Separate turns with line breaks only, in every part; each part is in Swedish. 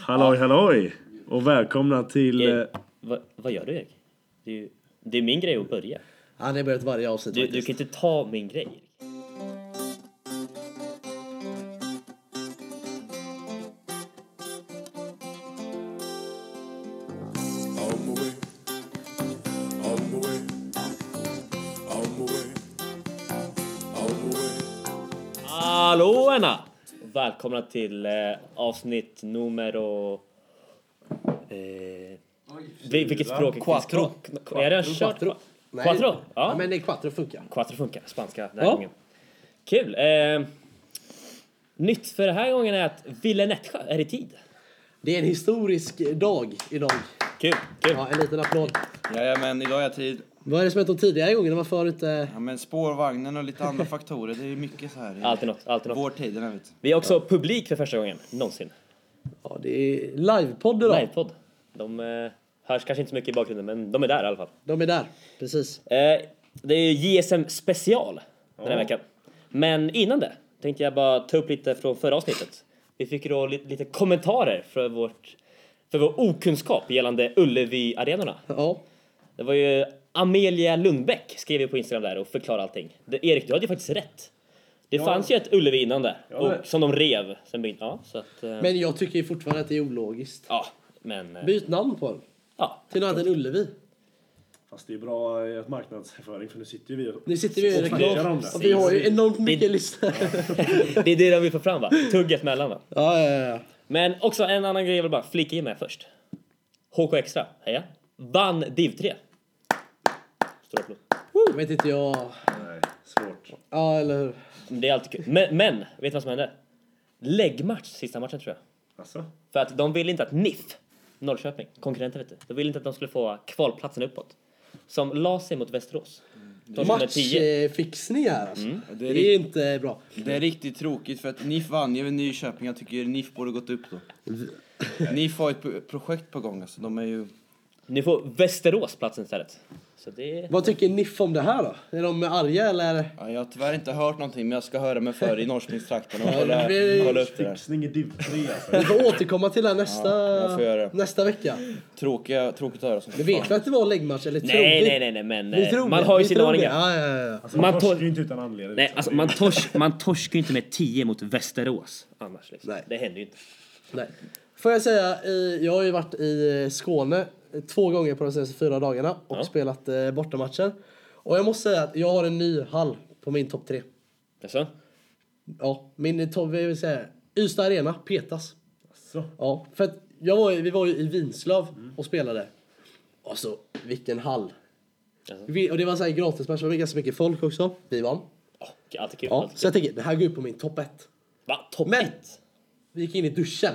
Halloj halloj! Och välkomna till...
Eh,
eh,
vad- vad gör du Erik? Det är, ju, det är min grej att börja.
Han har börjat varje avsnitt
Du, du
faktiskt.
kan inte ta min grej.
All my way, all my way, all my way, all my way.
Hallå Anna! Välkomna till eh, avsnitt nummer och... Eh, vil- vilket språk?
Quattro.
Quattro. Är det kört?
Quattro. Nej.
Quattro?
Ja.
Ja.
men nej, quattro funkar.
Quattro funkar, spanska den här
Ja.
gången. Kul! Eh, nytt för den här gången är att Ville Nätsjö är i tid.
Det är en historisk dag idag.
Kul, kul!
Ja, en liten applåd.
Jajamän, idag är jag tid.
Vad är det som hänt de tidigare gångerna? Varför har du inte...
Ja, men spårvagnen och lite andra faktorer, det är mycket så här i
Alltid något, alltid något.
vår tid. den här, Vet.
Vi är också publik för första gången någonsin.
Ja, det är livepodd idag.
Livepodd. De eh, hörs kanske inte så mycket i bakgrunden, men de är där i alla fall.
De är där. Precis.
Eh, det är ju JSM special den här veckan. Men innan det tänkte jag bara ta upp lite från förra avsnittet. Vi fick ju då li- lite kommentarer för, vårt, för vår okunskap gällande Ullevi-arenorna.
Ja.
Det var ju Amelia Lundbäck skrev ju på Instagram där och förklarade allting. Det, Erik, du hade ju faktiskt rätt. Det fanns ju ett Ullevi innan där, och, som de rev sen byn. Ja, så att... Eh,
Men jag tycker ju fortfarande att det är ologiskt.
ja, men... Eh,
Byt namn på den.
ja,
Till något annat än Ullevi.
Fast det är bra eh, marknadsföring för nu sitter ju vi och...
Nu sitter vi i
Och snackar
reklam.
om det.
Och vi har ju enormt mycket lyssnare.
det är det de vill få fram va? Tugget mellan va?
Ja, ja, ja.
Men också en annan grej jag vill bara flika in med först. HK Extra, heja! Vann DIV 3. Stor applåd.
Jag vet inte jag...
Nej, svårt.
Ja, eller hur?
Men Det är alltid kul. Men, men vet du vad som hände? Läggmatch sista matchen tror jag.
Alltså?
För att de ville inte att NIF, Norrköping, konkurrenter vet du, de ville inte att de skulle få kvalplatsen uppåt. Som la sig mot Västerås. De som är tio.
Matchfixning här alltså.
Det, är
Det är
rikt,
inte bra.
det är riktigt tråkigt för att NIF vann ju över Nyköping. Jag tycker NIF borde gått upp då. NIF har ett pro- projekt på gång alltså. De är ju...
Nu får Västerås platsen istället. Så det...
Vad tycker NIF om det här då? Är de arga eller?
Ja, jag har tyvärr inte hört någonting men jag ska höra mig för i Norrköpingstrakten och
Ja,
kolla,
vi-
kolla upp det där.
Fixning i div 3 alltså.
Vi får återkomma till det här nästa,
Ja, jag får göra det.
nästa vecka.
Tråkiga, tråkigt att höra som
Vi vet väl att det var läggmatch eller tror
Nej,
vi?
nej, nej, nej, men
Vi
eh,
tror
man
det.
har ju
Vi
sina
tror det.
aningar.
Ja, ja, ja, ja.
Alltså,
Man
man tor-
torskar ju inte utan anledning.
Nej,
liksom.
alltså
Det är-
man, tors, man torskar ju inte med 10 mot Västerås annars. Liksom.
Nej.
Det händer ju inte.
Nej. Får jag säga, i- jag har ju varit i eh, Skåne två gånger på de senaste fyra dagarna och
Ja.
spelat eh, bortamatcher. Och jag måste säga att jag har en ny hall på min topp tre.
Alltså,
Ja, min topp, jag vill säga, Ystad Arena petas.
Alltså.
Ja, för att jag var, ju- vi var ju i Vinslöv och spelade. Alltså, vilken hall.
Jaså?
Vi, och det var så här gratismatch, det var ganska mycket folk också. Vi vann.
oh, alltid kul.
Ja,
alltid kul.
så jag tänker, det här går upp på min topp ett.
Va? Topp
Men-
ett?
Vi gick in i duschen.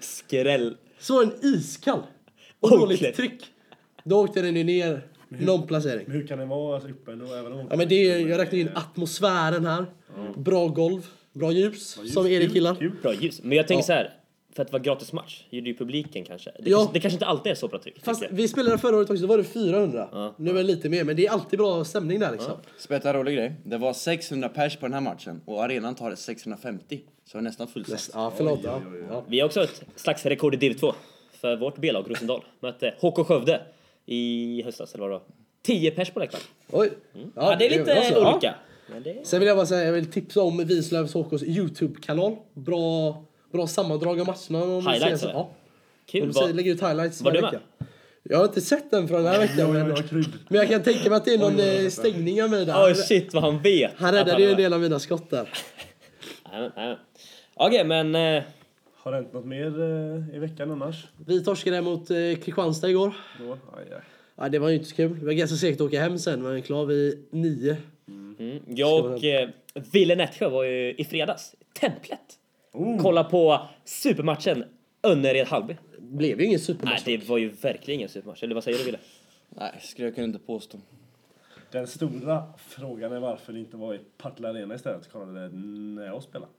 Skräll.
Så var den iskall. Och
Oj,
dåligt
klätt.
tryck. Då åkte den ju ner någon placering.
Men hur kan det vara alltså, uppe ändå? Även om...
Ja, men det är, ju- jag räknar in atmosfären här. Bra golv, bra ljus, som Erik gillar.
Kul.
Bra ljus. Men jag tänker
Ja.
så här. För att det var gratis match gjorde ju publiken kanske. Det,
Ja.
kanske, det kanske inte alltid är så bra tryck.
Fast
tänker jag.
vi spelade förra året också, då var det 400. Nu är det lite mer, men det är alltid bra stämning där liksom.
Spetta rolig grej. Det var 600 pers på den här matchen och arenan tar 650. Så det är nästan fullsatt.
Ja, förlåt. Ja. Ja.
Vi har också ett slags rekord i div 2. För vårt B-lag Rosendal mötte HK Skövde i höstas eller vad det var. 10 pers på läktaren.
Oj.
Mm. Ja, det är lite
bra så. Ja.
olika. Men det...
Sen vill jag bara säga, jag vill tipsa om Vinslövs HKs YouTube-kanal. Bra, bra sammandrag av matcherna. Om
Highlights,
senaste-
eller?
Ja,
Kul.
de säger,
Vad...
lägger ut highlights
Var
varje
du med?
vecka. Jag har inte sett den från den här veckan.
Oj, oj,
men,
oj, krydd.
men jag kan tänka mig att det är någon eh, stängning av mig där.
Oj shit vad han vet.
han
att
räddade ju
är
en del av mina skott där.
Nej, men- nej, men. Okej men... eh,
Har det hänt något mer eh, i veckan annars?
Vi torskade mot eh, Kristianstad igår.
Då? Aj, aj.
Ja, det var ju inte så kul. Det var ganska segt att åka hem sen, men klar vid nio.
Mm, Jag och eh, Ville Nätsjö var ju i fredags i templet.
Oh.
Kolla på supermatchen Önnered-Hallby.
Blev ju ingen
Nej,
supermatch.
det var ju verkligen ingen supermatch. Eller vad säger du Ville?
Nej, skulle jag kunna inte påstå.
Den stora frågan är varför ni inte var i Partille Arena istället och kollade när jag spelade.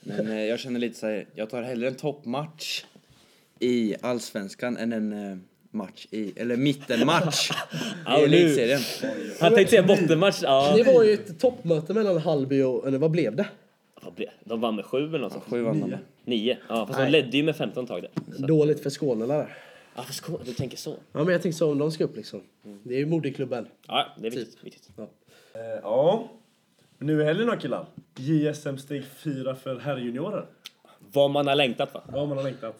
Men eh, jag känner lite så här, jag tar hellre en toppmatch i allsvenskan än en eh, match i, eller mittenmatch i
nu-
elitserien.
Han tänkte säga bottenmatch. Ja.
Det var ju ett toppmöte mellan Hallby och... Eller vad blev det?
Vad blev- De vann med sju eller något
Ja,
sånt.
Sju vann de med.
Nio. Ja, fast de
Nej.
ledde ju med 15 tag där. Så.
Dåligt för Skåne där.
Ja, fast kom, du tänker så.
Ja, men jag tänkte så om de ska upp liksom.
Mm.
Det är ju moderklubben.
Ja, det är
Typ.
viktigt. viktigt.
Eh, ja. Nu i helgen då killar. JSM steg 4 för herrjuniorer.
Vad man har längtat va?
Vad man har längtat.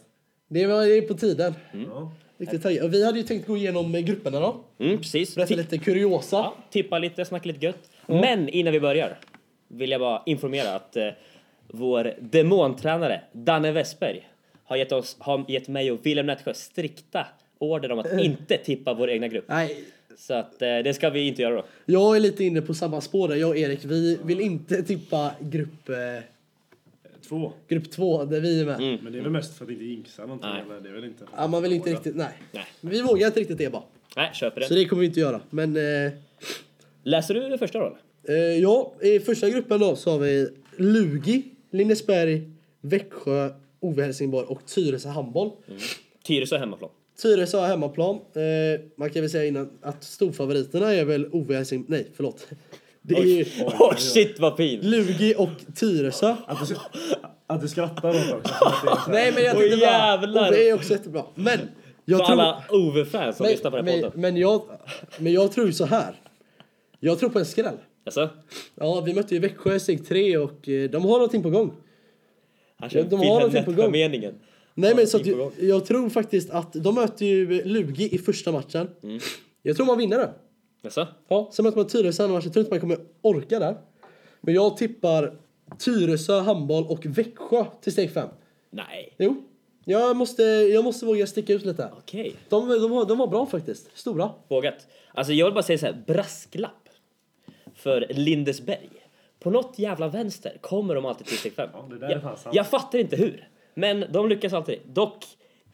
Det var ju på tiden.
Ja.
Riktigt taggad. Och vi hade ju tänkt gå igenom eh, grupperna då.
Mm, precis.
Berätta
Ti-
lite kuriosa.
ja, tippa lite, snacka lite gött.
Mm.
Men innan vi börjar vill jag bara informera att eh, vår demontränare Danne Westberg har gett, oss, har gett mig och Wilhelm Nätsjö strikta order om
Mm.
att inte tippa vår egna grupp.
Nej,
Så att eh, det ska vi inte göra då.
jag är lite inne på samma spår där. Jag och Erik, vi vill inte tippa grupp, eh,
Två.
grupp två där vi är med.
Mm.
Men det är väl mest för att inte jinxa någonting.
Nej.
Eller? Det är väl inte...
Ja, man vill inte riktigt, nej.
Nej.
Vi vågar inte riktigt det bara.
Nej, köper
Så
det.
det kommer vi inte göra. Men eh,
Läser du det första då? eller?
eh, ja, i första gruppen då så har vi Lugi, Lindesberg, Växjö, OV Helsingborg och Tyresö handboll.
Tyresö hemmaplan.
Tyresö har hemmaplan. Eh, man kan väl säga innan att storfavoriterna är väl OV Helsingborg, nej förlåt. Det är ju
Åh shit vad pin!
Lugi och Tyresö.
Att du, att du skrattar åt också. som att det är så här-
Nej men jag
Åh,
tyckte
jävlar.
bara, OV är också jättebra. Men jag
För
tror...
alla Ove-fans som
men,
lyssnar på den här
men,
podden.
men, jag, men jag tror så här. Jag tror på en skräll.
Jaså?
Ja, vi mötte ju Växjö i steg 3 och eh, de har någonting på gång.
Han kör
Ja, de har
Alltså, Wilhelm
någonting på gång.
Nätsjö-meningen.
Nej men så att
någonting på
jag, jag tror faktiskt att de möter ju Lugi i första matchen. Jag tror man vinner den.
Jaså?
Ja, sen möter man Tyresö i andra matchen. Jag tror inte man kommer orka där. Men jag tippar Tyresö, handboll och Växjö till steg 5.
Nej.
Jo, jag måste, jag måste våga sticka ut lite.
Okej.
De, de, var- de var bra faktiskt. Stora.
Vågat. Alltså jag vill bara säga så här, brasklapp. För Lindesberg. På något jävla vänster kommer de alltid till steg fem.
Ja, det där är fan sant.
jag, jag fattar inte hur. Men de lyckas alltid. Dock,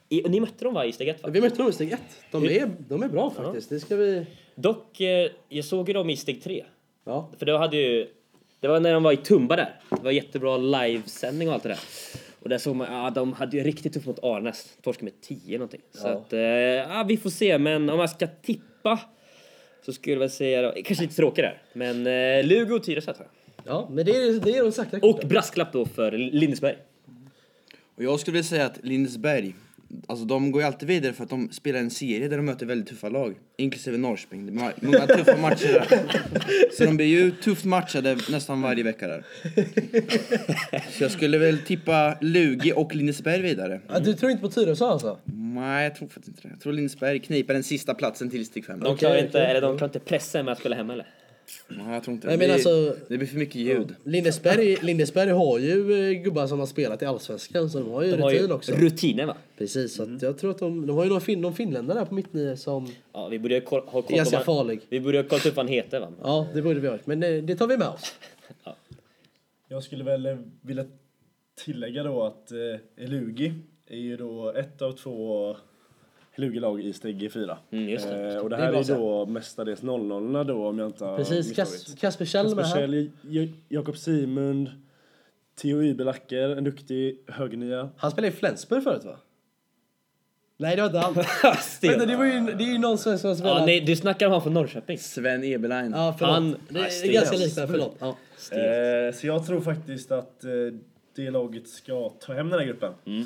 i, ni mötte dem va i steg ett va?
Mm.
Vi mötte dem i steg 1. De är, de är bra faktiskt. Det ska vi...
Dock, eh, jag såg ju dem i steg tre.
Ja.
För då hade ju... Det var när de var i Tumba där. Det var jättebra livesändning och allt det där. Och där såg man, ja de hade ju riktigt tufft mot Arnäs. Torskade med 10 någonting. Så att, eh, ja vi får se. Men om man ska tippa så skulle jag väl säga, då, kanske lite tråkigt där. Men eh, Lugo och Tyresö tror jag.
Ja, men det är, det är de sakta
Och brasklapp då för Lindesberg.
Och jag skulle vilja säga att Lindesberg, alltså de går ju alltid vidare för att de spelar en serie där de möter väldigt tuffa lag, inklusive Norrköping. Det är många tuffa matcher där. Så de blir ju tufft matchade nästan varje vecka där. Så jag skulle väl tippa Lugi och Lindesberg vidare.
Ja, du tror inte på Tyresö alltså?
Nej, jag tror faktiskt inte det. Jag tror Lindesberg kniper den sista platsen till steg 5.
De klarar
Okej,
inte,
okej.
eller de klarar inte pressen med att spela hemma eller?
Nej, jag tror inte det.
Nej, men
Det-
alltså-
Det blir för mycket ljud.
Lindesberg, Lindesberg har ju eh, gubbar som har spelat i Allsvenskan så de har ju
De har
rutin
ju Mm.
också.
rutinen va?
Precis, så att jag tror att de, de har ju någon, fin, någon finländare där på mittnio som...
Ja, vi borde ju koll- ha koll på
Ganska
vad-
farlig.
Vi borde ha kollat upp vad han heter va?
Ja, det borde vi ha gjort, men eh, det, det tar vi med oss.
Jag skulle väl eh, vilja tillägga då att eh, Elugi är ju då ett av två Elugi-lag i steg 4.
Mm, just det.
Eh, och det
Det
här
är
är,
bra
ju då mestadels 00 då om jag inte har
Precis, Kas,
misstagit.
Kasper Kjell med
Kasper
här.
Kjell, Jo- Jakob Simund, Theo Ybelacker, en duktig högernia.
Han spelade i Flensburg förut va? Nej, det var inte han.
Sten.
Vänta, det, var ju, det är ju någon svensk som spelar.
Ja, nej, du snackar om han från Norrköping.
Sven Eberlein.
Ja, förlåt.
Han-
det
Nej,
är
Sten.
ganska liknande, förlåt. Ja.
Eh, så jag tror faktiskt att eh, det laget ska ta hem den här gruppen.
Mm.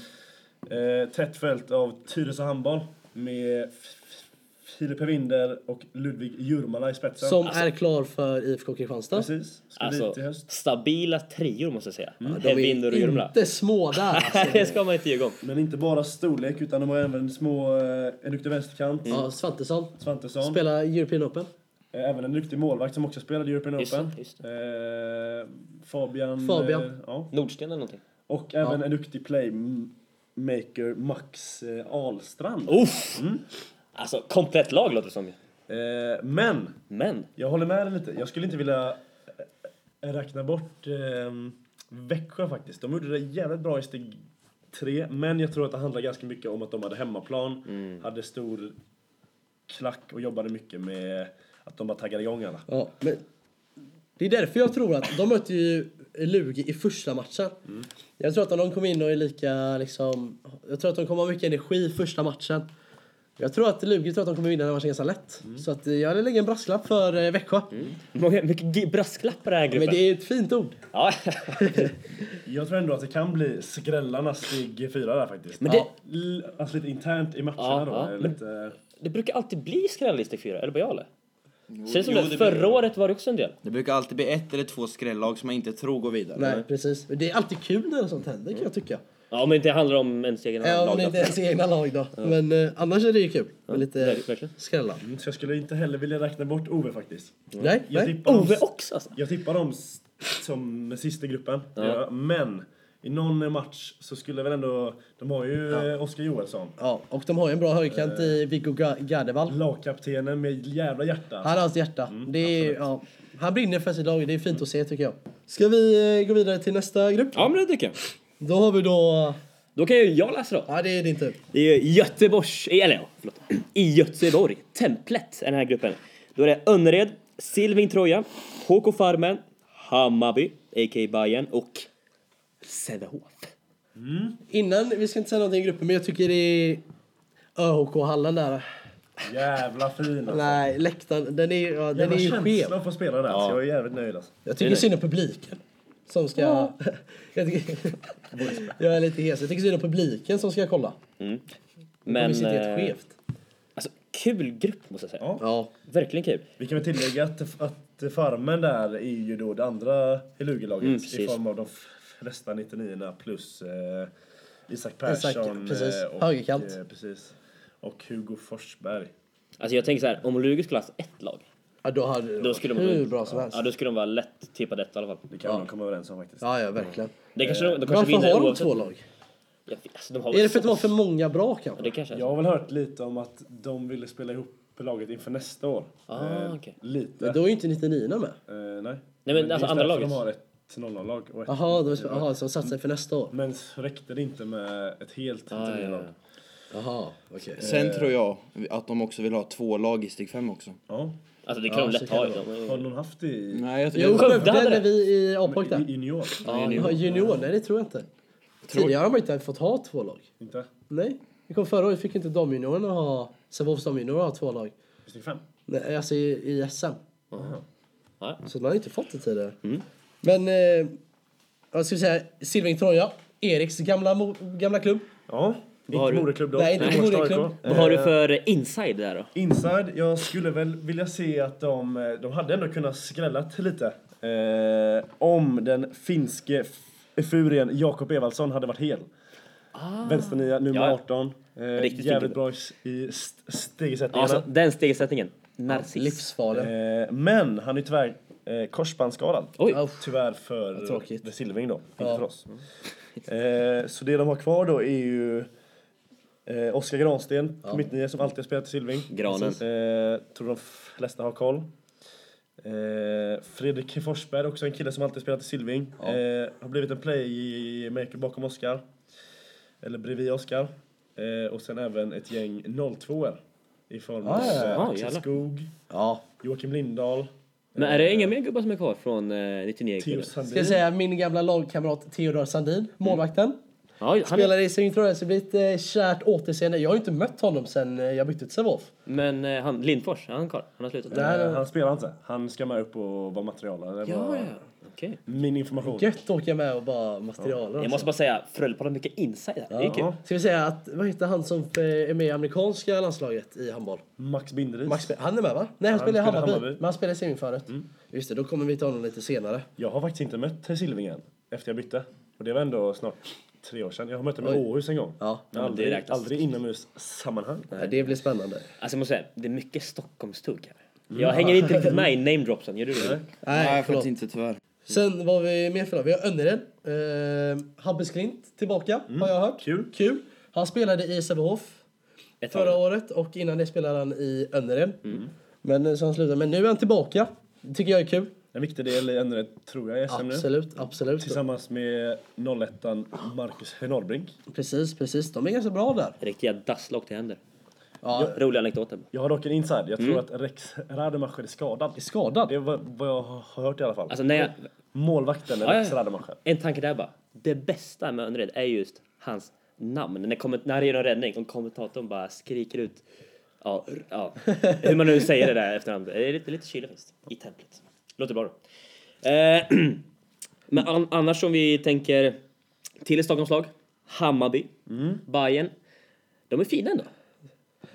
Eh, tätt följt av Tyresö Handboll med F- F- Filip Winder och Ludvig Jurmala i spetsen.
Som är klar för IFK Kristianstad.
Precis, ska
Alltså,
dit i höst.
stabila trior måste jag säga. Mm.
De är
Hevinder och Mm. Jurmla.
inte små där. alltså.
Nej, det ska man inte ljuga om.
Men inte bara storlek utan de har även små, eh, en duktig vänsterkant,
Mm.
Ja, Svantesson.
Svantesson.
Spelar European Open.
Eh, Även en duktig målvakt som också spelade i European
Just det,
Open.
just
Eh, Fabian.
Fabian.
Eh, ja.
Nordsten eller någonting.
Och även en duktig playmaker, Max eh, Ahlstrand.
Uff! Alltså, komplett lag låter det som ju.
Eh, men,
Men,
jag håller med dig lite. Jag skulle inte vilja eh, räkna bort eh, Växjö faktiskt. De gjorde det jävligt bra i steg tre. Men jag tror att det handlar ganska mycket om att de hade hemmaplan,
Mm.
hade stor klack och jobbade mycket med att de bara taggade igång alla.
Ja, men det är därför jag tror att de möter ju Lugi i första matchen. Jag tror att om de kommer in och är lika liksom, jag tror att de kommer ha mycket energi första matchen. Jag tror att Lugi tror att de kommer vinna den matchen ganska lätt. Så att eh, jag lägger en brasklapp för eh, Växjö.
Många, mycket gi- brasklappar i den här
Men
gruppen.
det är ett fint ord.
Ja,
Jag tror ändå att det kan bli skrällarnas steg 4 där faktiskt.
Men det-
Ja. L- Alltså lite internt i matcherna
Ja,
då.
ja,
är
men-
Lite...
det brukar alltid bli skrällar i steg fyra, eller bara jag eller? Känns som
jo,
det,
det
förra
blir det.
året var det också en del.
Det brukar alltid bli ett eller två skrällag som man inte tror går vidare.
Nej, precis. Men Det är alltid kul när sånt händer kan jag tycka.
Ja, men det handlar om ens egen
Ja, om
lag.
det
då.
inte är ens egna lag då. Men eh, annars är det ju kul. Med
Ver-
lite
Verkligen.
skrällar.
Mm, Så jag skulle inte heller vilja räkna bort Ove faktiskt.
Nej,
Jag
nej.
tippar dem-
Ove också alltså.
Jag tippar dem s- som sist i gruppen.
Ja.
Ja, men i någon match så skulle väl ändå... De har ju ja. Oskar Joelsson.
Ja, och de har ju en bra högerkant i Viggo Ga- Gardevall.
Lagkaptenen med jävla hjärta.
Han har hans hjärta.
Mm,
det är, ja, han brinner för sitt lag. Det är fint att se tycker jag. Ska vi eh, gå vidare till nästa grupp?
Ja, men det tycker jag.
Då har vi då...
Då kan ju jag läsa då.
Ja, det är din tur.
Det är Göteborgs, eh, eller ja, förlåt. I Göteborg, Templet är den här gruppen. Då är det Önnered, Silving Troja, HK Farmen, Hammarby, a.k.a. Bayern och Sävehof.
Innan, vi ska inte säga någonting i gruppen, men jag tycker det är ÖHK-hallen där.
Jävla fin alltså.
Nej, läktaren. Den är, ja, den
Jävla
är ju skev.
känsla att få spela där. Så jag är jävligt nöjd alltså.
Jag tycker synd om publiken. Som ska... jag, tycker, jag är lite hes. Jag tycker synd om publiken som ska kolla. Men...
Men...
Det är
eh,
helt skevt.
Alltså, kul grupp måste jag säga.
Ja.
Ja.
Verkligen kul.
Vi kan väl tillägga att, att farmen där är ju då det andra Helugelaget
Mm,
i
precis.
form av de flesta 99 plus eh, Isak
Isak,
Persson
precis.
eh, och,
Högerkant.
eh, precis. och Hugo Forsberg.
Alltså jag tänker så här, om Lugi skulle ha haft ett lag,
ja då hade
då skulle de...
hur bra som helst.
Ja, då skulle de vara lätt tippade ett i alla fall.
Det kan de komma överens om faktiskt.
Ja, ja, verkligen.
Det kanske de, de kanske
Varför
vinner
har de
oavsett.
två lag?
Jag vet, alltså, de har
Är det för att
så
det var
pass-
för många bra
Ja,
kanske?
det kanske är så.
Jag har väl hört lite om att de ville spela ihop laget inför nästa år. Eh,
Ah, okej.
Lite.
Men då är ju inte 99 med.
eh, nej.
men
det är
alltså
just
andra
därför
laget.
De har ett 0-0-lag. och ett-
Jaha, de aha, så de satsar för nästa år.
Men så räckte det inte med ett helt
Ah, ja,
99
ja,
lag.
ja.
Jaha, okej.
Sen tror jag att de också vill ha två lag i steg fem också.
Ja.
Alltså det kan de
så
lätt
kan
ha.
det
De-
Har någon haft det i,
Nej, jag,
Jo,
Skövde
Skövde
hade
hade
det.
vi i A-pojk där.
i, i New York?
Ja, junior, nej det tror jag inte. Tidigare har man inte fått ha två lag.
Inte?
Nej. Vi kom förra året fick inte damjuniorerna ha, Sävehofs damjuniorer ha två lag.
I steg fem?
Nej, alltså i, i SM.
Ja.
Så man har inte fått det tidigare. Men, eh, vad ska vi säga, Silving Troja, Eriks gamla, mo- gamla klubb.
Ja,
har
inte
du?
moderklubb då.
Nej, inte
Göteborgs
moderklubb.
AIK.
Vad har du för inside där då?
Inside, jag skulle väl vilja se att de, eh, de hade ändå kunnat skrällat lite. Eh, om den finske f- furien Jakob Evaldsson hade varit hel. Vänsternia, nummer
Ah. Ja.
18. Eh,
Riktigt
jävligt
fin
bra i s- i st-
Ja,
stegsättningarna.
Alltså, den stegsättningen. Narcissist.
Livsfarlig.
eh, men han är tyvärr eh, korsbandsskadad.
Oj.
Ja.
Tyvärr för
tråkigt.
för Silving då, inte för oss. Eh, så det de har kvar då är ju eh, Oskar Gransten på mittnio som alltid har spelat i Silving.
Granen.
Precis. Eh, tror de flesta har koll. Eh, Fredrik Forsberg, också en kille som alltid spelat i Silving. Eh, har blivit en playmaker bakom Oskar. Eller bredvid Oskar. Eh, och sen även ett gäng 02 i form av
Ah, ja, ja.
eh,
Ah,
Axel
jävlar.
Skog,
Ja.
Joakim Lindahl,
Men är det inga mer gubbar som är kvar från eh, 99?
Theo
Ska
Sandin.
jag säga min gamla lagkamrat Theodor Sandin, målvakten.
Ja, han är,
Spelade i Silving Troja, så det blir ett eh, kärt återseende. Jag har ju inte mött honom sen eh, jag bytte till Sävehof.
men eh, han, Lindfors, är han kvar? Han har slutat?
Nej.
Eh, Han spelar inte. Han ska med upp och vara materialare. Det
Ja,
var
ja. Okej.
Min information.
Gött att åka med och bara material.
Jag måste bara säga, Frölunda har mycket inside här. Det är kul.
Ja.
Ska vi säga att, vad heter han som eh, är med i amerikanska landslaget i handboll?
Max Binderis.
Max, han är med va? Nej han, spelar i
spelar i
Hammarby,
Hammarby.
men han spelar i Siming förut. Just det, då kommer vi till honom lite senare.
Jag har faktiskt inte mött Herr Silvingen efter jag bytte. Och det var ändå snart tre år sedan. Jag har mött honom i
Oj.
Åhus en gång.
Ja,
Men
men det
aldrig,
räknas.
aldrig inomhussammanhang.
Ja, det blir spännande.
Alltså jag måste säga, det är mycket Stockholmstugg här. Jag hänger inte riktigt med i namedropsen, gör du det?
Nej,
Nej, förlåt.
faktiskt inte tyvärr.
Sen var vi mer för då? Vi har Önnered. Eh, Habbes Klint tillbaka,
Mm,
har jag hört.
Kul.
Kul. Han spelade i Sävehof
Ett
förra
tag. Mm.
året och innan det spelade han i Önnered. Men eh, så han slutade. Men nu är han tillbaka. Det tycker jag är kul.
En viktig del i ändå tror jag i SM nu.
Absolut, absolut.
Tillsammans med 01 Marcus Norbrink.
Precis, precis. De är ganska bra där.
Riktiga dasslock till händer.
Ja.
Roliga anekdoter.
Jag har dock en inside. Jag
Mm.
tror att Rex Rademacher är skadad.
Är skadad?
Det var vad jag har hört i alla fall.
Alltså när jag,
Målvakten är
Ja, ja,
Rex
ja.
Rademacher.
en tanke där bara. Det bästa med Önnered är just hans namn. När, komment- när det är någon räddning och kommentatorn bara skriker ut ja, r- ja. hur man nu säger det där efterhand. Det är lite, lite chili faktiskt, i templet. Låter bra då. Eh, men an- annars om vi tänker till ett Stockholmslag, Hammarby, Mm. Bayern. De är fina ändå.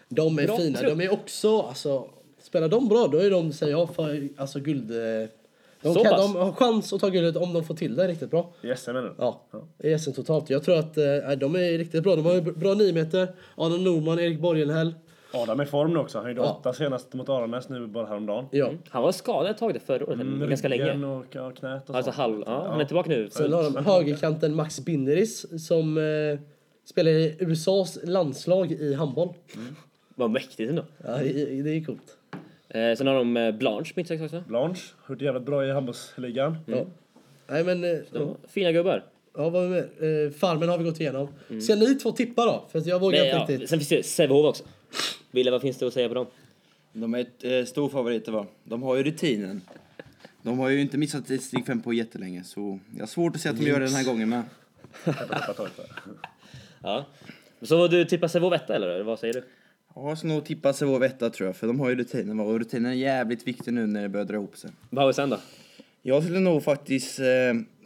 De är
Bra
fina.
trupp.
De är också, alltså, spelar de bra då är de, säger jag, för, alltså guld... eh, De,
Så
kan,
pass?
de har chans att ta guldet om de får till det riktigt bra.
I SM menar du?
Ja, i SM totalt. Jag tror att eh, de är riktigt bra. De har ju bra nymeter. Adam Norman, Erik Borgenhäll.
Adam är i form nu också. Han gjorde
Ja.
åtta senast mot Aranäs nu bara häromdagen.
Ja.
Han var skadad ett tag där förra året,
Mm,
ganska
ryggen
länge.
och ja, knät och
Alltså
sånt.
halv, ja, han är tillbaka nu.
Sen har de högerkanten Max Binderis som eh, spelar i USAs landslag i handboll.
Vad mäktigt ändå.
Ja, det, det är coolt.
Eh, sen har de eh, Blanche, mittsex också.
Blanche, har gjort jävligt bra i handbollsligan.
Ja. Nej men, eh,
De var fina gubbar.
ja, vad med? Eh, farmen har vi gått igenom. Ska ni två tippa då? För att jag vågar
Men,
inte
ja, sen
riktigt.
finns det Sävehof också. Wille, vad finns det att säga på dem?
De är ett eh, stor favorit va? De har ju rutinen. De har ju inte missat ett steg 5 på jättelänge så jag har svårt att se att de gör det den här gången med.
Tappar taget där.
Ja. Så du tippar Sävehof etta eller vad säger du?
Ja, Jag ska nog tippa Sävehof etta tror jag för de har ju rutinen va? och rutinen är jävligt viktig nu när det börjar dra ihop sig.
Vad har vi sen då?
Jag skulle nog faktiskt eh,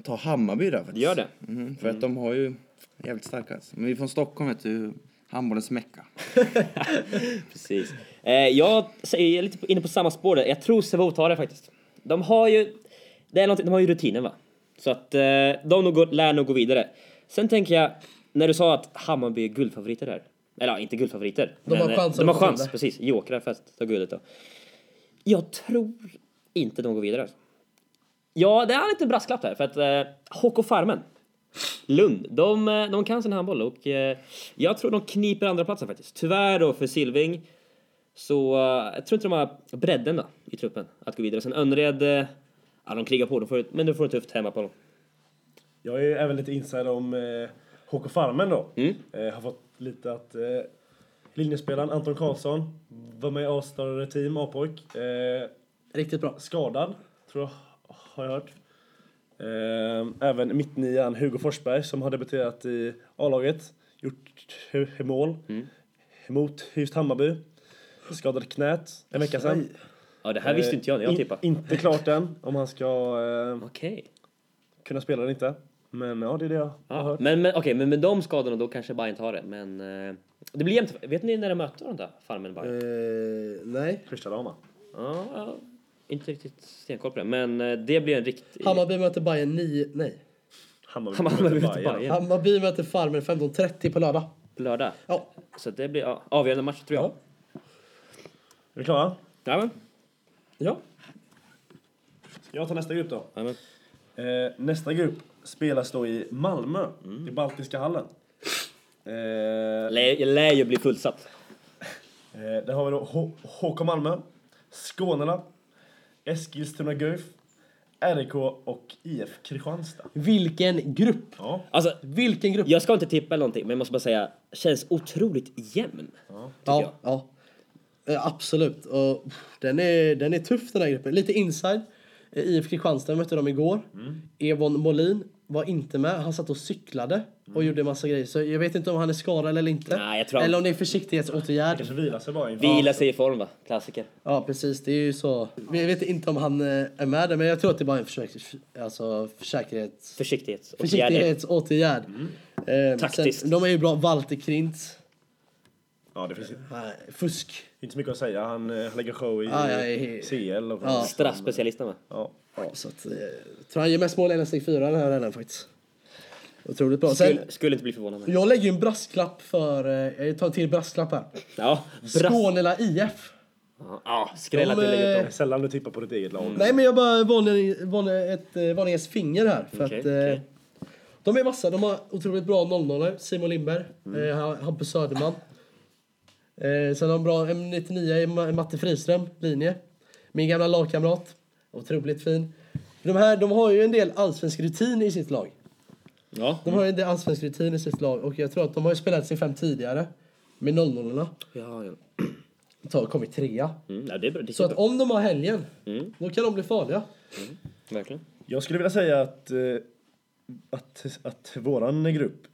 ta Hammarby där faktiskt.
Gör det. Mm.
Mhm, för att de har ju jävligt starka alltså. Men vi är från Stockholm vet du, handbollens mecka.
Precis. Eh, jag säger- jag är lite på- inne på samma spår där. Jag tror Sävehof tar det faktiskt. De har ju, det är någonting- de har ju rutinen va? Så att eh, de nog går, lär nog gå vidare. Sen tänker jag, när du sa att Hammarby är guldfavoriter där. Eller ja, inte guldfavoriter.
De har
eh,
chans
De har
att få
chans,
guldet.
precis. Jokrar för att ta guldet då. Jag tror inte de går vidare alltså. Ja, det är en liten brasklapp där för att eh, HK Farmen, Lund, de, eh, de kan sin handboll och eh, jag tror de kniper andra platsen faktiskt. Tyvärr då för Silving så eh, jag tror inte de har bredden då, i truppen att gå vidare. Sen Önnered, eh, ja de krigar på, de får, men de får det tufft hemma på dem.
Jag är ju även lite insider om eh, HK Farmen då.
Mm.
Eh, har fått lite att eh, linjespelaren Anton Karlsson var med i A-större team, A-pojk. Eh,
Riktigt bra.
skadad, tror jag har jag hört. Eh, Även mittnian Hugo Forsberg som har debuterat i A-laget. Gjort hu- hu- mål
Mm.
mot just Hammarby. Skadade knät en vecka sedan.
Ja det här visste
Eh,
inte jag när jag
in-
tippade.
Inte klart än om han ska eh,
Okej.
kunna spela eller inte. Men ja, det är det jag har
Ja,
hört.
men men okej, men med de skadorna då kanske Bayern tar det. Men eh, det blir jämnt. Vet ni när de möter de där Farmen och Bayern?
Eh, nej.
Första dagen va?
Ja, ja, inte riktigt stenkoll på det. Men eh, det blir en riktig...
Hammarby möter Bayern 9... Nej.
Hammarby,
Hammarby
möter
möter
Bayern.
Bayern.
Hammarby möter Farmen 15.30 på lördag.
lördag.
Ja.
Så det blir ja, avgörande match tror jag.
Är vi klara?
Jajamän.
Ja.
Ska jag ta nästa grupp då?
Jajamän.
Eh, nästa grupp spelas då i Malmö, i Baltiska hallen. Eh,
Lär, jag lär ju bli fullsatt.
Eh, där har vi då H- HK Malmö, Skånela, Eskilstuna Guif, RIK och IF Kristianstad.
Vilken grupp!
Ja.
Alltså,
Vilken grupp!
jag ska inte tippa eller någonting, men jag måste bara säga, känns otroligt jämn.
Ja,
jag.
ja. Eh, Absolut. Och, pff, den, är, den är tuff den här gruppen. Lite inside. Eh, IF Kristianstad mötte dem igår.
Mm.
Evon Molin var inte med. Han satt och cyklade och gjorde en massa grejer. Så jag vet inte om han är skadad eller inte.
Mm. Nej, jag tror han- Mm.
Eller om det är försiktighetsåtgärd.
Kanske vila sig bara inför.
Vila sig i form va, klassiker.
Ja, precis. Det är ju så. Vi vet inte om han eh, är med där, men jag tror att det är bara en försäk... alltså, försäkerhets...
Försiktighet. och gärning.
Försiktighetsåtgärd. Eh,
Mm. Taktiskt.
Sen, de är ju bra. Walter Krintz.
Ja, det finns inte-
Nej, fusk.
inte så mycket att säga. Han, eh, han lägger show i
Ja, ja, ja.
CL. Och
Ja.
Straffspecialisten va.
Ja.
Ja, så att, eh, jag tror han gör mest mål i hela steg fyra den här redan faktiskt. Otroligt bra. Sen,
Skulle, skulle inte bli förvånad.
jag lägger ju en brasklapp för, eh, jag tar en till brasklapp här.
Ja, brass.
Skånela IF.
Ja, skrälla till lägget
Det är
då.
Sällan du tippar på ditt eget lag.
Nej men jag bara varnar varnar ett eh, varningens finger här. För
Okej,
att, eh,
okej.
De är vassa, de har otroligt bra 0-0 Simon Lindberg,
Mm.
eh, Ha- Hampus Söderman. Eh, sen har de bra M99 i Ma- Matte Friström, linje. Min gamla lagkamrat. Otroligt fin. De här, de har ju en del allsvensk rutin i sitt lag.
Ja.
De har ju inte allsvensk rutin i sitt lag och jag tror att de har ju spelat sig fem tidigare med 0-0
Ja, ja.
och kommit trea.
Mm, ja, det är bra. Det är
Så att
superbra.
om de har helgen,
Mm.
då kan de bli farliga.
Verkligen.
Jag skulle vilja säga att, eh, att, att våran grupp är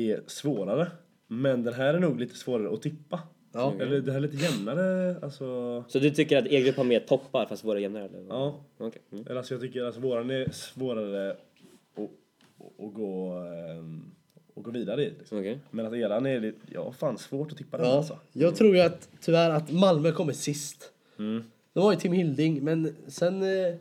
är svårare. Men den här är nog lite svårare att tippa.
Ja.
Mm.
Eller det här är lite jämnare, alltså...
Så du tycker att E-grupp har mer toppar fast våra är jämnare? Eller? vad?
Ja.
Okej. Mm.
Eller alltså jag tycker alltså våran är svårare att, att, att gå, ehm, att gå vidare i. Liksom.
Okej.
Men att eran är lite, ja fan svårt att tippa den
Ja,
alltså.
jag tror ju att tyvärr att Malmö kommer sist.
Mm.
De var ju Tim Hilding, men sen... eh,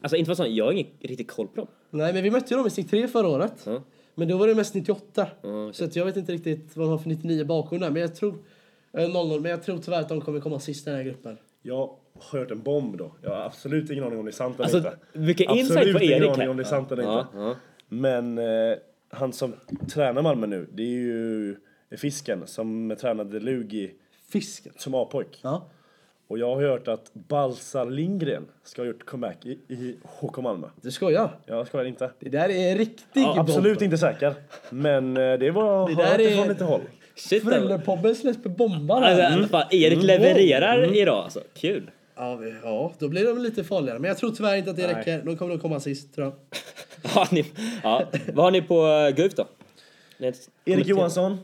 Alltså inte för sånt, jag har ingen riktigt koll på dem.
Nej, men vi mötte ju dem i steg 3 förra året.
Ja.
Men då var det mest 98.
okej.
Så att jag vet inte riktigt vad de har för 99 bakgrund där. Men jag tror... eh, 00, men jag tror tyvärr att de kommer komma sist i den här gruppen.
Jag har hört en bomb då. Jag har absolut ingen aning om det är sant eller
Alltså,
inte.
vilken
absolut
insight på Erik
ingen
här.
aning om det är sant eller
Ja,
inte.
ja.
Men eh, han som tränar Malmö nu, det är ju Fisken som tränade Lugi
Fisken.
som A-pojk.
Ja.
Och jag har hört att Balsar Lindgren ska ha gjort comeback i, i HK Malmö.
Du skojar?
Jag skojar inte.
Det där är en riktig
Ja, absolut inte säker. Men eh, det var
Det
det
där
där
är-
från lite håll.
Shit, alltså,
Fröllepobben släpps på bombar här. Mm.
alltså, fan, Erik levererar idag alltså. Kul.
Ja, vi- ja, då blir de lite farligare. Men jag tror tyvärr inte att det räcker. De kommer nog komma sist, tror jag.
Har ni, ja. Vad har ni på eh, GUF då? Ni har inte
Erik
kommit till-
Johansson,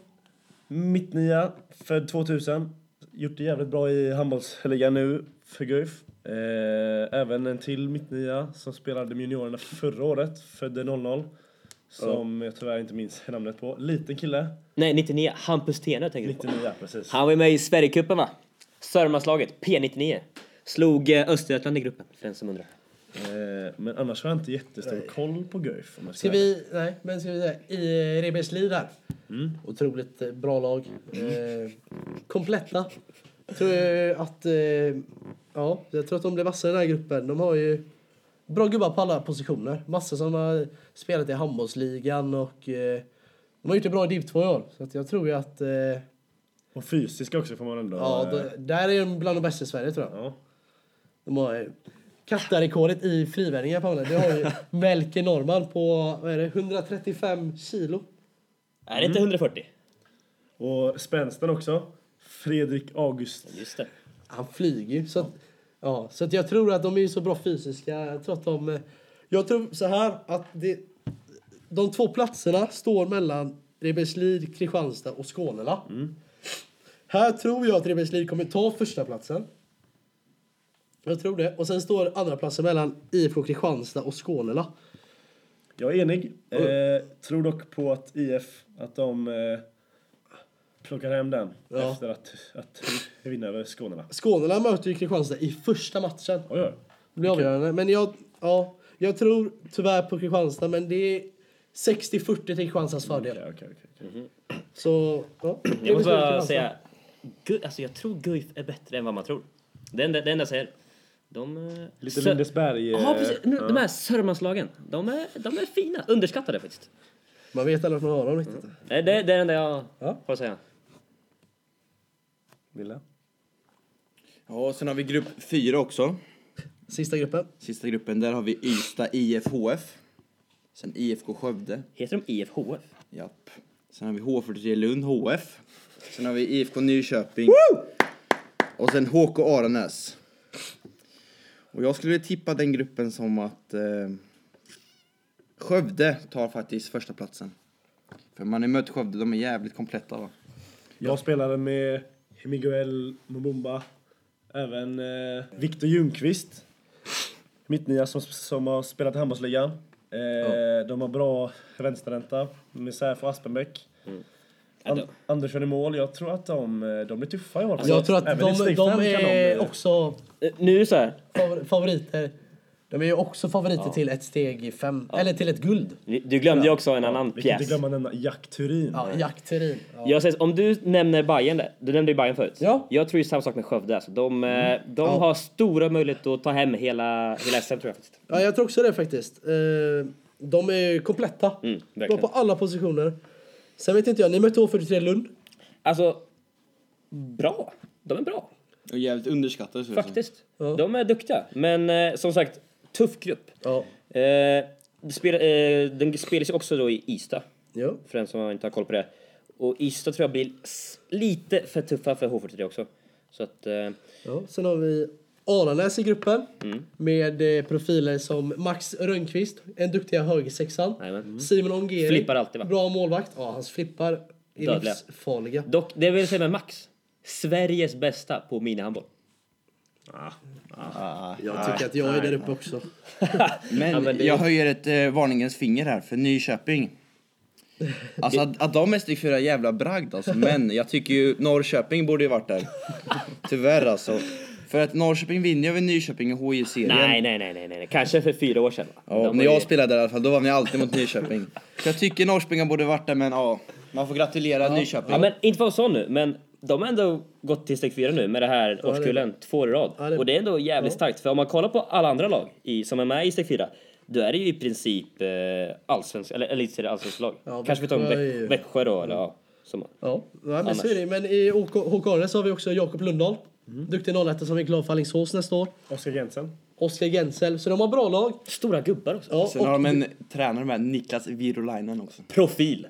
mittnia, född 2000. Gjort det jävligt bra i handbollsligan nu för Guif. Eh, även en till mittnia som spelade med juniorerna förra året, födde 00. Som jag tyvärr inte minns namnet på. Liten kille,
Nej, 99. Hampus Tenö tänker du på.
99 precis.
Han var ju med i Sverigecupen va? Sörmlandslaget, P99. Slog eh, Östergötland i gruppen, för den som undrar.
Eh, men annars har jag inte jättestor koll på Guif. om jag
Ska vi, nej, men ska vi säga, i eh, Rebergsliv där. Otroligt eh, bra lag. Eh, kompletta. Tror jag att, eh, ja, jag tror att de blir vassa i den här gruppen. De har ju bra gubbar på alla positioner. Massor som har spelat i handbollsligan och eh, de har gjort det bra i div 2 i år. Så att jag tror ju att, eh,
Och fysiska också får man ändå...
ja,
eh,
d- där är de bland de bästa i Sverige tror jag.
ja.
De har eh, kattarekordet i frivändningar Paula. Det har ju Melker Norman på, vad är det, 135 kilo.
Är det inte 140?
Och spänsten också. Fredrik August.
Just det.
Han flyger ju. Så, att, ja, så att jag tror att de är ju så bra fysiska. Jag tror att de... eh, Jag tror så här att det, de två platserna står mellan Rebergslid, Kristianstad och Skånela. Här tror jag att Rebergslid kommer ta första platsen. Jag tror det. Och sen står andra platsen mellan IFK Kristianstad och Skånela.
Jag är enig. Eh, tror dock på att IF, att de eh, plockar hem den
Ja.
efter att, att vinna över Skånerna.
Skånela möter ju Kristianstad i första matchen.
Oj, oj.
Det blir avgörande. Men jag, ja, jag tror tyvärr på Kristianstad, men det är 60-40 till Kristianstads fördel.
Okej, okej, okej, okej.
Mhm.
Så, ja.
Jag måste bara säga, Gu- alltså jag tror Guif är bättre än vad man tror. Det enda, det enda jag säger. De... eh,
Lite
Sö-
Lindesberg. eh,
Ja, precis. Nu, De här Sörmlandslagen, de är, de är fina. Underskattade faktiskt.
Man vet aldrig vad man har dem riktigt.
Det, det, det är det enda jag
Ja.
har att säga.
Wille.
Ja, och sen har vi grupp fyra också.
Sista gruppen.
Sista gruppen, där har vi Ystad IFHF. Sen IFK Skövde.
Heter de IFHF?
Japp. Sen har vi H43 Lund HF. Sen har vi IFK Nyköping. Och sen HK Aranäs. Och jag skulle vilja tippa den gruppen som att eh, Skövde tar faktiskt första platsen. För man har mött Skövde, de är jävligt kompletta va.
Jag spelade med Miguel Mobumba, även eh, Victor Ljungqvist, mittnia som, som har spelat i handbollsligan. Eh, De har bra vänsterränta med Säf och Aspenbäck. An- Andersson i mål, jag tror att de, eh, de är tuffa i år.
jag tror att
Även i
de,
steg
de
fem kan
är
eh,
också
Eh, Nu är det så här.
favor- favoriter. De är ju också favoriter till ett steg i fem, eller till ett guld.
Ni- Du glömde ju också en annan
Vi kan
pjäs.
inte glömma nämna Jack Turin.
Ja, Jack Turin. Ja.
Jag säger, så, om du nämner Bayern där, du nämnde ju Bayern förut.
Ja.
Jag tror ju samma sak med Skövde. Alltså. De, eh, de har stora möjligheter att ta hem hela, hela SM tror jag faktiskt.
Ja, jag tror också det faktiskt. Eh, De är ju kompletta.
Mm,
Bra
verkligen.
på alla positioner. Sen vet inte jag, ni mötte H43 Lund.
Alltså, bra. De är bra,
Och jävligt underskattade ser det ut som.
faktiskt. De är duktiga. Men eh, som sagt, tuff grupp.
Ja.
Eh, det spel, eh, den spelas ju också då i Ystad,
ja.
för den som inte har koll på det. Och Ystad tror jag blir s- lite för tuffa för H43 också. Så att... Eh,
ja. Sen har vi Aranäs i gruppen
Mm.
med eh, profiler som Max Rönnqvist, en duktiga högersexan.
Jajamän. Mm.
Simon Ongeri,
Flippar alltid, va?
bra målvakt. Ja, hans flippar är
Dödliga.
livsfarliga.
Dock, det vill säga med Max. Sveriges bästa på minihandboll.
Ah,
Jag tycker att jag är där uppe också.
Men,
Ja, men det-
jag höjer ett eh, varningens finger här för Nyköping. Alltså att, att de är steg fyra jävla bragd alltså. Men jag tycker ju Norrköping borde ju varit där. Tyvärr alltså. För att Norrköping vinner ju över Nyköping i HJ-serien.
Nej, nej, nej, nej, nej. Kanske för fyra år sedan. Va?
Ja,
De var
när
ju-
jag spelade där i alla fall, då vann jag alltid mot Nyköping. Så jag tycker Norrköping borde varit där, men ja. Man får gratulera Nyköping.
Ja, men inte för sån nu, men de har ändå gått till steg fyra nu med det här årskullen två år i rad.
Ja, det-
Och det är ändå jävligt starkt, för om man kollar på alla andra lag i, som är med i steg fyra, då är det ju i princip eh, allsvensk, eller elitserie allsvenska lag.
Ja,
Kanske vi tar
Växjö är
Väx-
ju-
Växjö då, eller ja. Som,
Ja, ja men
Annars. Mm.
så är det. Men i OK HK Aranäs har vi också Jakob Lundahl. Duktig 01 som är klar för Alingsås nästa år.
Oskar Jensen.
Oskar Gensel. Så de har bra lag.
stora gubbar också.
Ja,
Sen
och
har de en tränare med, Niklas Virolainen också.
Profil.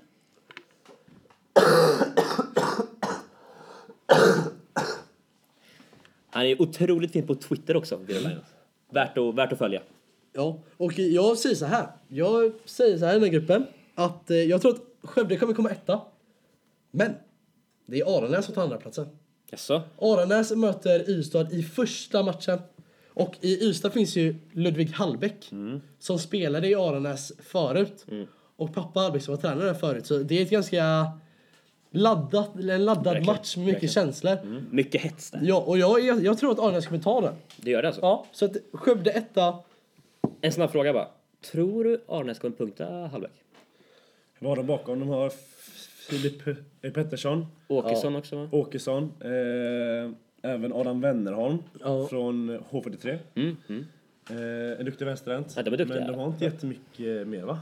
Han är otroligt fin på Twitter också, Virolainen. Värt att, värt att följa.
Ja, och jag säger så här. Jag säger så här i den här gruppen. Att eh, jag tror att Skövde kommer komma etta. Men det är Aranäs som tar andra platsen.
Jaså?
Aranäs möter Ystad i första matchen. Och i Ystad finns ju Ludvig Hallbäck som spelade i Aranäs förut. Och pappa Hallbäck var tränare där förut. Så det är ett ganska laddat, eller en laddad
Verkligen,
match med mycket
verkligen.
känslor.
Mycket hets där.
Ja, och jag, jag, jag tror att Aranäs kommer ta den.
Det gör det alltså?
Ja, så att Skövde etta.
En snabb fråga bara. Tror du Arnäs kommer punkta halvlek?
Vad har de bakom? De har Filip eh, Pettersson,
Åkesson också va?
Åkesson, eh, även Adam Wennerholm
Ja.
från H43. Eh, en duktig vänsterhänt.
Ja, de är duktiga.
Men Mm, de har inte jättemycket mer va?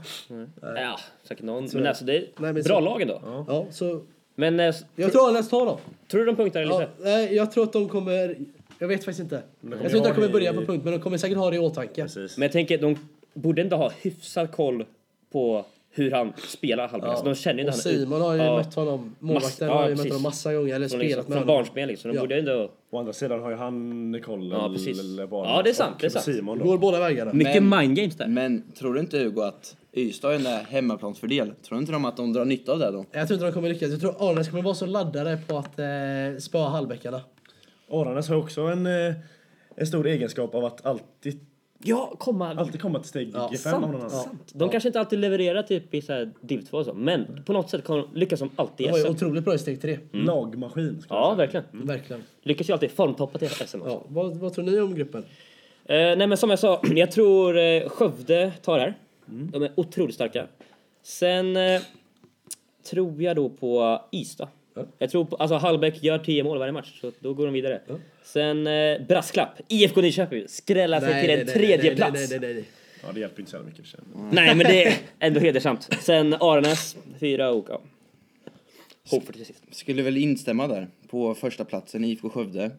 Ja, säkert någon. Men alltså det är
men
bra
så-
lag ändå.
Ja, så
Men eh,
jag tror Aranäs tar dem.
tror du de punktar eller
Ja,
inte?
nej, jag tror att de kommer... Jag vet faktiskt inte.
kommer
jag tror inte
ha
de kommer
det
börja
i-
på punkt, men de kommer säkert ha det i åtanke.
Precis.
Men jag tänker, de borde ändå ha hyfsad koll på hur han spelar halvlek. Alltså, de känner ju
och
inte han
Simon har ju
Ja.
mött honom, målvakten
Mass- ja,
har ju mött
precis.
honom massa gånger, eller
Från,
spelat
liksom,
med
från
honom.
barnsben liksom. De
Ja.
borde ändå...
Å andra sidan har ju han koll
Ja, precis.
eller vad
Ja, det är sant,
och
det är sant.
Simon då.
Går båda vägarna.
Mycket
Men-
mind games där.
Men tror du inte Hugo att Ystad är en eh, där hemmaplansfördel? Tror inte de att de drar nytta av det då?
Jag tror inte de kommer lyckas. Jag tror Arnes kommer vara så laddade på att eh, spöa hallbäckarna.
Aranäs har också en, eh, en stor egenskap av att alltid,
Ja, komma.
alltid komma till steg
Ja,
5 av någon annan.
De kanske inte alltid levererar typ i så här div 2 och så, men på något sätt kommer de- lyckas de alltid
Det
i
var ju
SM.
otroligt bra i steg tre.
Mm.
Lagmaskin. Mm. ska
Ja,
jag säga.
verkligen.
Verkligen.
Lyckas ju alltid formtoppa till SM också.
Ja, vad, vad tror ni om gruppen?
Eh, nej men som jag sa, jag tror eh, Skövde tar det här.
Mm.
De är otroligt starka. Sen eh, tror jag då på Ystad.
Ja.
Jag tror på, alltså Hallbäck gör 10 mål varje match, så då går de vidare. Sen eh, brasklapp, IFK Nyköping skrällar sig till en tredje plats.
Nej, nej, nej, nej.
Ja, det hjälper inte så jävla mycket. i och för sig.
Nej, men det är ändå hedersamt. Sen Aranäs, fyra och ja. Hopefully till sist.
Skulle väl instämma där på första platsen IFK Skövde.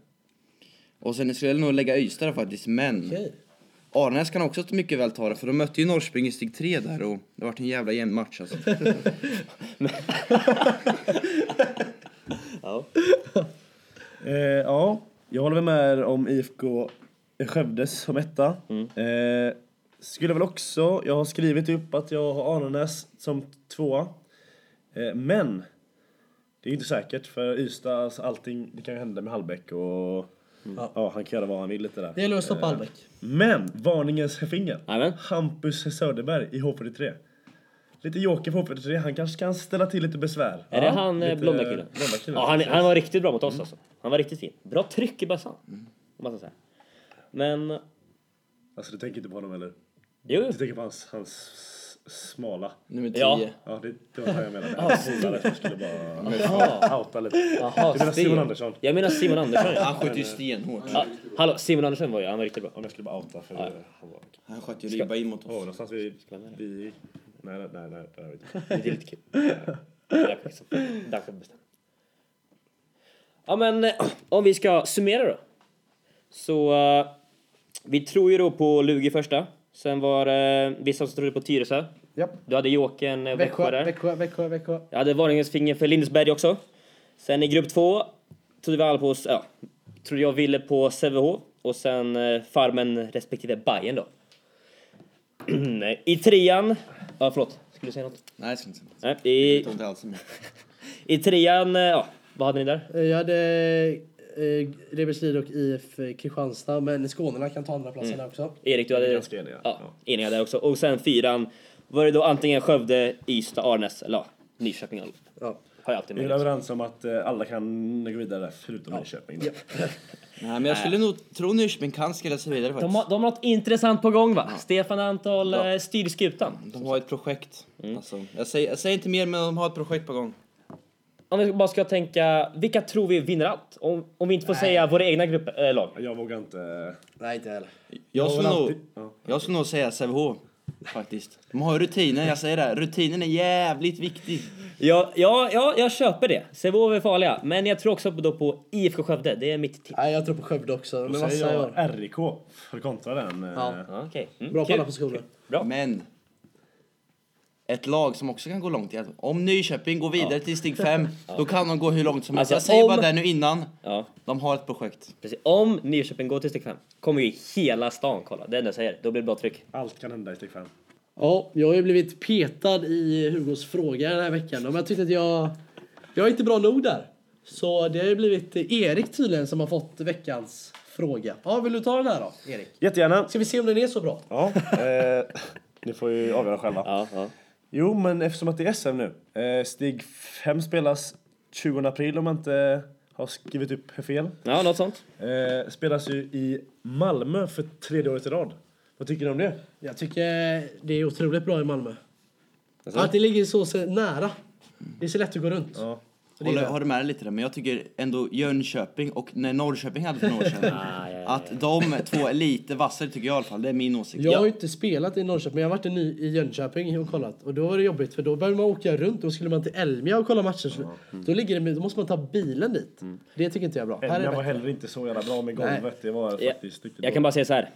Och sen skulle jag nog lägga Ystad där faktiskt, men
Okej.
Arnäs kan också mycket väl ta det för de mötte ju Norrköping i steg 3 där och det vart en jävla jämn match alltså.
Eh, ja, jag håller väl med om IFK Skövde som etta. Eh, skulle väl också, jag har skrivit upp att jag har Arnäs som tvåa. Eh, men det är ju inte säkert för Ystad, alltså allting, det kan ju hända med Hallbäck och
Ja.
ja, han kan göra vad han vill lite där.
Det gäller att
Eh.
stoppa Hallbäck.
Men varningens finger.
Jajamän.
Hampus Söderberg i H43. Lite joker på H43, han kanske kan ställa till lite besvär.
Är det han eh,
lite
blonda killen?
blonda killen.
Ja, han, han var riktigt bra mot
Mm.
oss alltså. Han var riktigt fin. Bra tryck i bössan. Om man ska säga. Men,
Alltså du tänker inte på honom eller?
jo.
Du tänker på hans, hans s- smala.
Nummer 10.
Ja.
Ja, det, det var det jag menade. Jag polare som skulle
Jaha.
bara outa lite.
Jaha,
Du menar
Sten.
Simon Andersson?
Jag menar Simon Andersson ja.
Han sköt ju stenhårt.
ja. Hallå, Simon Andersson var ju, han var riktigt bra.
Om jag skulle bara outa för han var...
Han sköt ju ribba in mot
Åh,
oss.
någonstans vi... vi nej, nej, nej, nej, det har vi inte.
Det är lite kul. Jag liksom, där får jag bestämma. Ja men eh, om vi ska summera då. Så eh, vi tror ju då på Lugi första. Sen var det eh, vissa som trodde på Tyresö.
Japp.
Du hade Jåken eh, Växjö där.
Växjö, Växjö, Växjö.
Jag hade varningens finger för Lindesberg också. Sen i grupp två trodde vi alla på, ja, trodde jag ville på Sävehof. och sen eh, Farmen respektive Bayern då. I trean... Ja, förlåt. Skulle du säga något?
Nej, jag ska inte säga något.
Nej,
Jag
i,
tar inte alls emot.
I trean... eh, Ja, vad hade ni där?
Eh, Jag hade eh, Riberslied och IF Kristianstad, men Skånerna kan ta andra platsen här också.
Erik, du
Vi
hade...
är ganska eniga.
Ja,
Ja.
eniga där också. Och sen fyran var det då antingen Skövde, Ystad, Arnäs eller ja, Nyköping.
Ja.
Har jag alltid
Vi är
med.
väl överens om att eh, alla kan gå vidare där, förutom Nyköping. då.
Nej, men jag skulle nog tro Nyköping kan skrälla sig vidare faktiskt.
De har, de har något intressant på gång va? Stefan Antal eh, ja. styr skutan.
De har ett projekt. Alltså, jag, säger, jag säger inte mer, men de har ett projekt på gång.
Om vi bara ska tänka, vilka tror vi vinner allt? Om, om vi inte får säga våra egna grupp, äh, lag.
Jag vågar inte...
Nej, inte heller.
Jag skulle
vill
nog,
alltid- ja.
jag skulle nog säga Sävehof. Faktiskt. De har rutinen, jag säger det. här. Rutinen är jävligt viktig.
Ja, ja, ja, jag köper det. Sävehof är farliga. Men jag tror också på, då på IFK Skövde. Det är mitt tips.
Nej, jag tror på Skövde också. Men
Då
vad
säger
säger jag?
jag RIK för att kontra den. eh,
Ja.
Ja, Okej. Mm,
Bra på
kul.
alla positioner.
Bra.
Men ett lag som också kan gå långt. i- Om Nyköping går vidare till steg 5, då kan de gå hur långt som helst.
Alltså,
jag säger
om-
bara det nu innan.
Ja,
De har ett projekt.
precis. Om Nyköping går till steg 5 kommer ju hela stan kolla. Det är det jag säger. Då blir det bra tryck.
Allt kan hända i steg 5.
Ja, jag har ju blivit petad i Hugos fråga den här veckan. Men jag tyckte att jag... Jag är inte bra nog där. Så det har ju blivit Erik tydligen som har fått veckans fråga. Ja, vill du ta den här då, Erik?
Jättegärna.
Ska vi se om den är så bra?
Ja, eh, ni får ju avgöra själva.
Ja, ja.
Jo, men eftersom att det är SM nu. Eh, Stig 5 spelas 20 april om man inte har skrivit upp fel.
ja något sånt.
Eh, spelas ju i Malmö för tredje året i rad. Vad tycker ni om det?
Jag tycker det är otroligt bra i Malmö. Att det ligger så se- nära. Det är så lätt att gå runt.
Ja.
Håller, håller med dig lite där, men jag tycker ändå Jönköping och när Norrköping hade för några år sedan.
Ah, ja, ja,
Att de två är lite vassare tycker jag i alla fall. Det är min åsikt.
Jag har ju inte spelat i Norrköping, men jag har varit i, ny, i Jönköping och kollat. Och då var det jobbigt, för då behövde man åka runt. Då skulle man till Elmia och kolla matcher. Så
mm.
Då, ligger det, då måste man ta bilen dit. Det tycker inte jag är bra. Här är
Elmia
det
var
bättre.
heller inte så jävla bra med golvet.
Nej.
Det var
Ja,
faktiskt riktigt
jag
dåligt.
kan bara säga så här.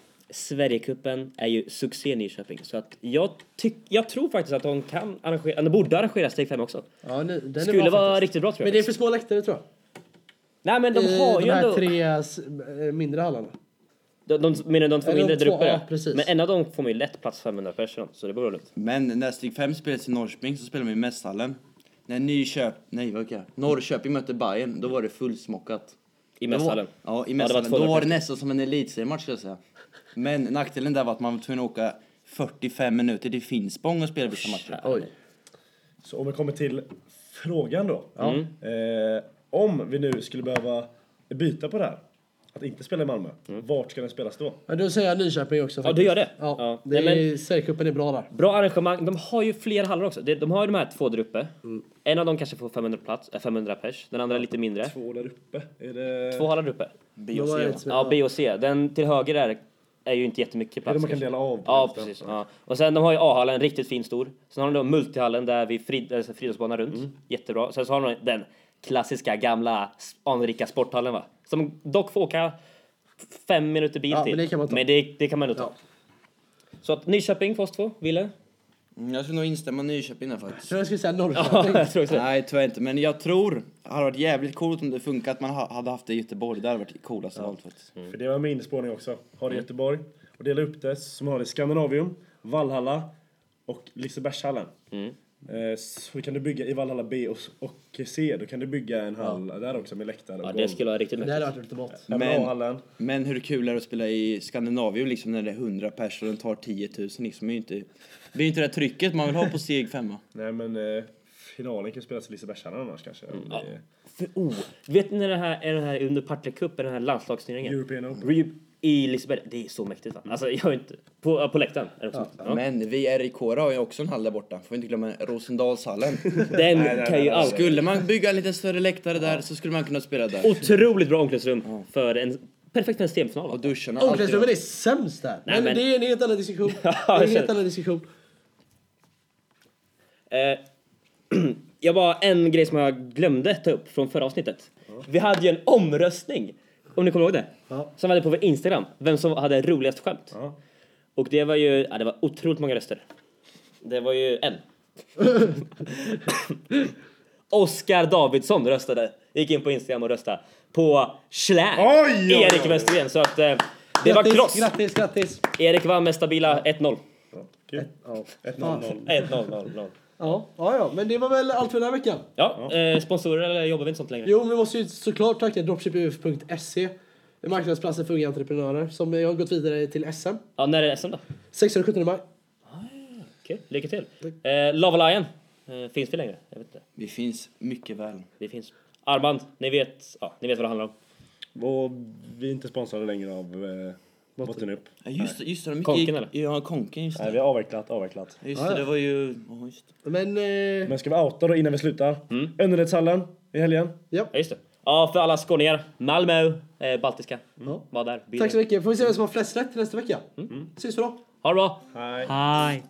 Sverigekuppen är ju succé i Nyköping. Så att jag, tyck, jag tror faktiskt att de kan arrangera, de borde arrangera steg 5 också.
Ja, nu, den är
Skulle
bra
vara
faktiskt.
riktigt bra tror jag.
Men det är för
faktiskt.
små läktare tror jag.
Nej men
I
de har
de
ju
här
ändå...
tre s- eh, mindre hallarna.
De, de, menar de två
Eller de
mindre där
två,
uppe?
ja,
där.
precis.
Men en av dem får man ju lätt plats 500 personer, så det blir lugnt.
Men när Stig 5 spelades i Norrköping så spelade de i Mässhallen. När Nyköp... Nej, vad kan jag? Norrköping mötte Bayern, då var det fullsmockat.
I
Det var-
mässhallen.
Ja, i
det var
mässhallen. då
200
var det nästan som en elitseriematch skulle jag säga. Men nackdelen där var att man var tvungen att åka 45 minuter till Finspång och spela vissa matcher.
Oj.
Så om vi kommer till frågan då.
Mm.
Eh, om vi nu skulle behöva byta på det här. Att inte spela i Malmö.
Mm.
Vart ska den spelas då?
Ja, då säger jag Nyköping också.
Ja, du gör det?
Ja,
Ja.
Det
Nej,
är, Sverigecupen är bra där.
Bra arrangemang. De har ju fler hallar också. De, de har ju de här två där uppe.
Mm.
En av dem kanske får 500, plats, äh, 500 pers, den andra lite mindre.
Två där uppe. Är det...
Två hallar där uppe.
B
Då
och
var
C,
det
va?
ett som-
Ja, B och C. Den till höger där är ju inte jättemycket
Är det
plats.
man kan
kanske.
dela av? på
Ja,
resten?
precis. Ja. Och sen de har ju A-hallen, riktigt fin stor. Sen har de då multihallen där vi frid, alltså friidrottsbanan runt.
Mm.
Jättebra. Sen så har de den klassiska gamla s- anrika sporthallen va? Som dock får åka f- fem minuter bil
Ja,
till.
men det kan man ta.
Men det, det kan man nog ta.
Ja.
Så att Nyköping, fast två, Wille?
Mm, Jag skulle nog instämma i Nyköping där faktiskt.
Jag tror jag skulle säga
Ja,
Norrköping.
jag tror också det.
Nej, tyvärr inte. Men jag tror det hade varit jävligt coolt om det funkat. Man ha- hade haft det i Göteborg. Det hade varit coolast av allt faktiskt.
Mm. För det var min spårning också. Har
Mm.
det i Göteborg. Och dela upp det som har det i Scandinavium, Vallhalla och Lisebergshallen.
Mm.
Eh, Så kan du bygga i Vallhalla B och- och C, då kan du bygga en hall där också med läktare och
Ja, det
golv.
skulle vara riktigt
Det
mäktigt.
hade varit ultimat.
Även
Men-
A-hallen.
Men hur kul är det att spela i Skandinavien liksom när det är 100 personer och den tar 10 000 liksom. Det är ju inte, det är ju inte det där trycket man vill ha på steg 5.
Nej men eh, finalen kan spelas i Lisebergshallen annars kanske.
Mm.
Om det är
För, oh, vet ni när det här är den här under Partille-cupen, den här landslagsturneringen?
European Open.
Re- I Liseberg. Det är så mäktigt va? Alltså jag är inte... På, på läktaren är det också mäktigt. ja.
Men vi är i Kora har ju också en hall där borta. Får inte glömma Rosendalshallen.
Den kan ju alltid...
skulle man bygga en lite större läktare där så skulle man kunna spela där.
Otroligt bra omklädningsrum för en... Perfekt för en semifinal. va?
Och duscharna. alltid-
Omklädningsrummet är sämst där.
Nej,
men,
men-
det är en helt annan diskussion. Det
jag
är en
känner-
helt annan diskussion.
Eh, jag bara en grej som jag glömde ta upp från förra avsnittet. Vi hade ju en omröstning, om ni kommer ihåg det?
Ja.
Som vi hade på vår Instagram, vem som hade roligast skämt.
Ja.
Och det var ju, ja, det var otroligt många röster. Det var ju en. Oskar Davidsson röstade, gick in på Instagram och röstade på Schlä,
Oj, oj, oj.
Erik Westergren. Så att eh, Det var
Grattis,
kloss.
Grattis, grattis.
Erik vann med stabila
Ja,
1-0.
Kul. Ja, 1-0-0.
1-0-0-0.
Ja, ja, ja, men det var väl allt för den här veckan.
Ja, Eh, sponsorer eller jobbar vi inte sånt längre?
Jo, vi måste ju såklart tacka dropshipuf.se, E, marknadsplatsen för unga entreprenörer, som jag har gått vidare till SM.
Ja, när är det SM då?
16-17 maj.
Kul, lycka till. Eh, Lava Lion, eh, finns vi längre? Jag vet inte.
Vi finns mycket väl.
Vi finns. Armband, ni vet, ja, ni vet vad det handlar om.
Och vi är inte sponsrade längre av eh, Bottenup.
Ja, Just, det, just det, de gick,
Konken, eller?
Ja, konken just
Nej,
det.
vi har avvecklat, avvecklat.
Just det, det var ju... ja, just det.
Men, eh,
Men ska vi outa då innan vi slutar? Önneredshallen i helgen.
Ja, just det. Ja, för alla skåningar. Malmö, eh, baltiska.
Ja.
Var där. Bilder.
tack så mycket. Får vi se vem som har flest rätt till nästa vecka. Ses vi då.
Ha det bra.
Hej.
Hej.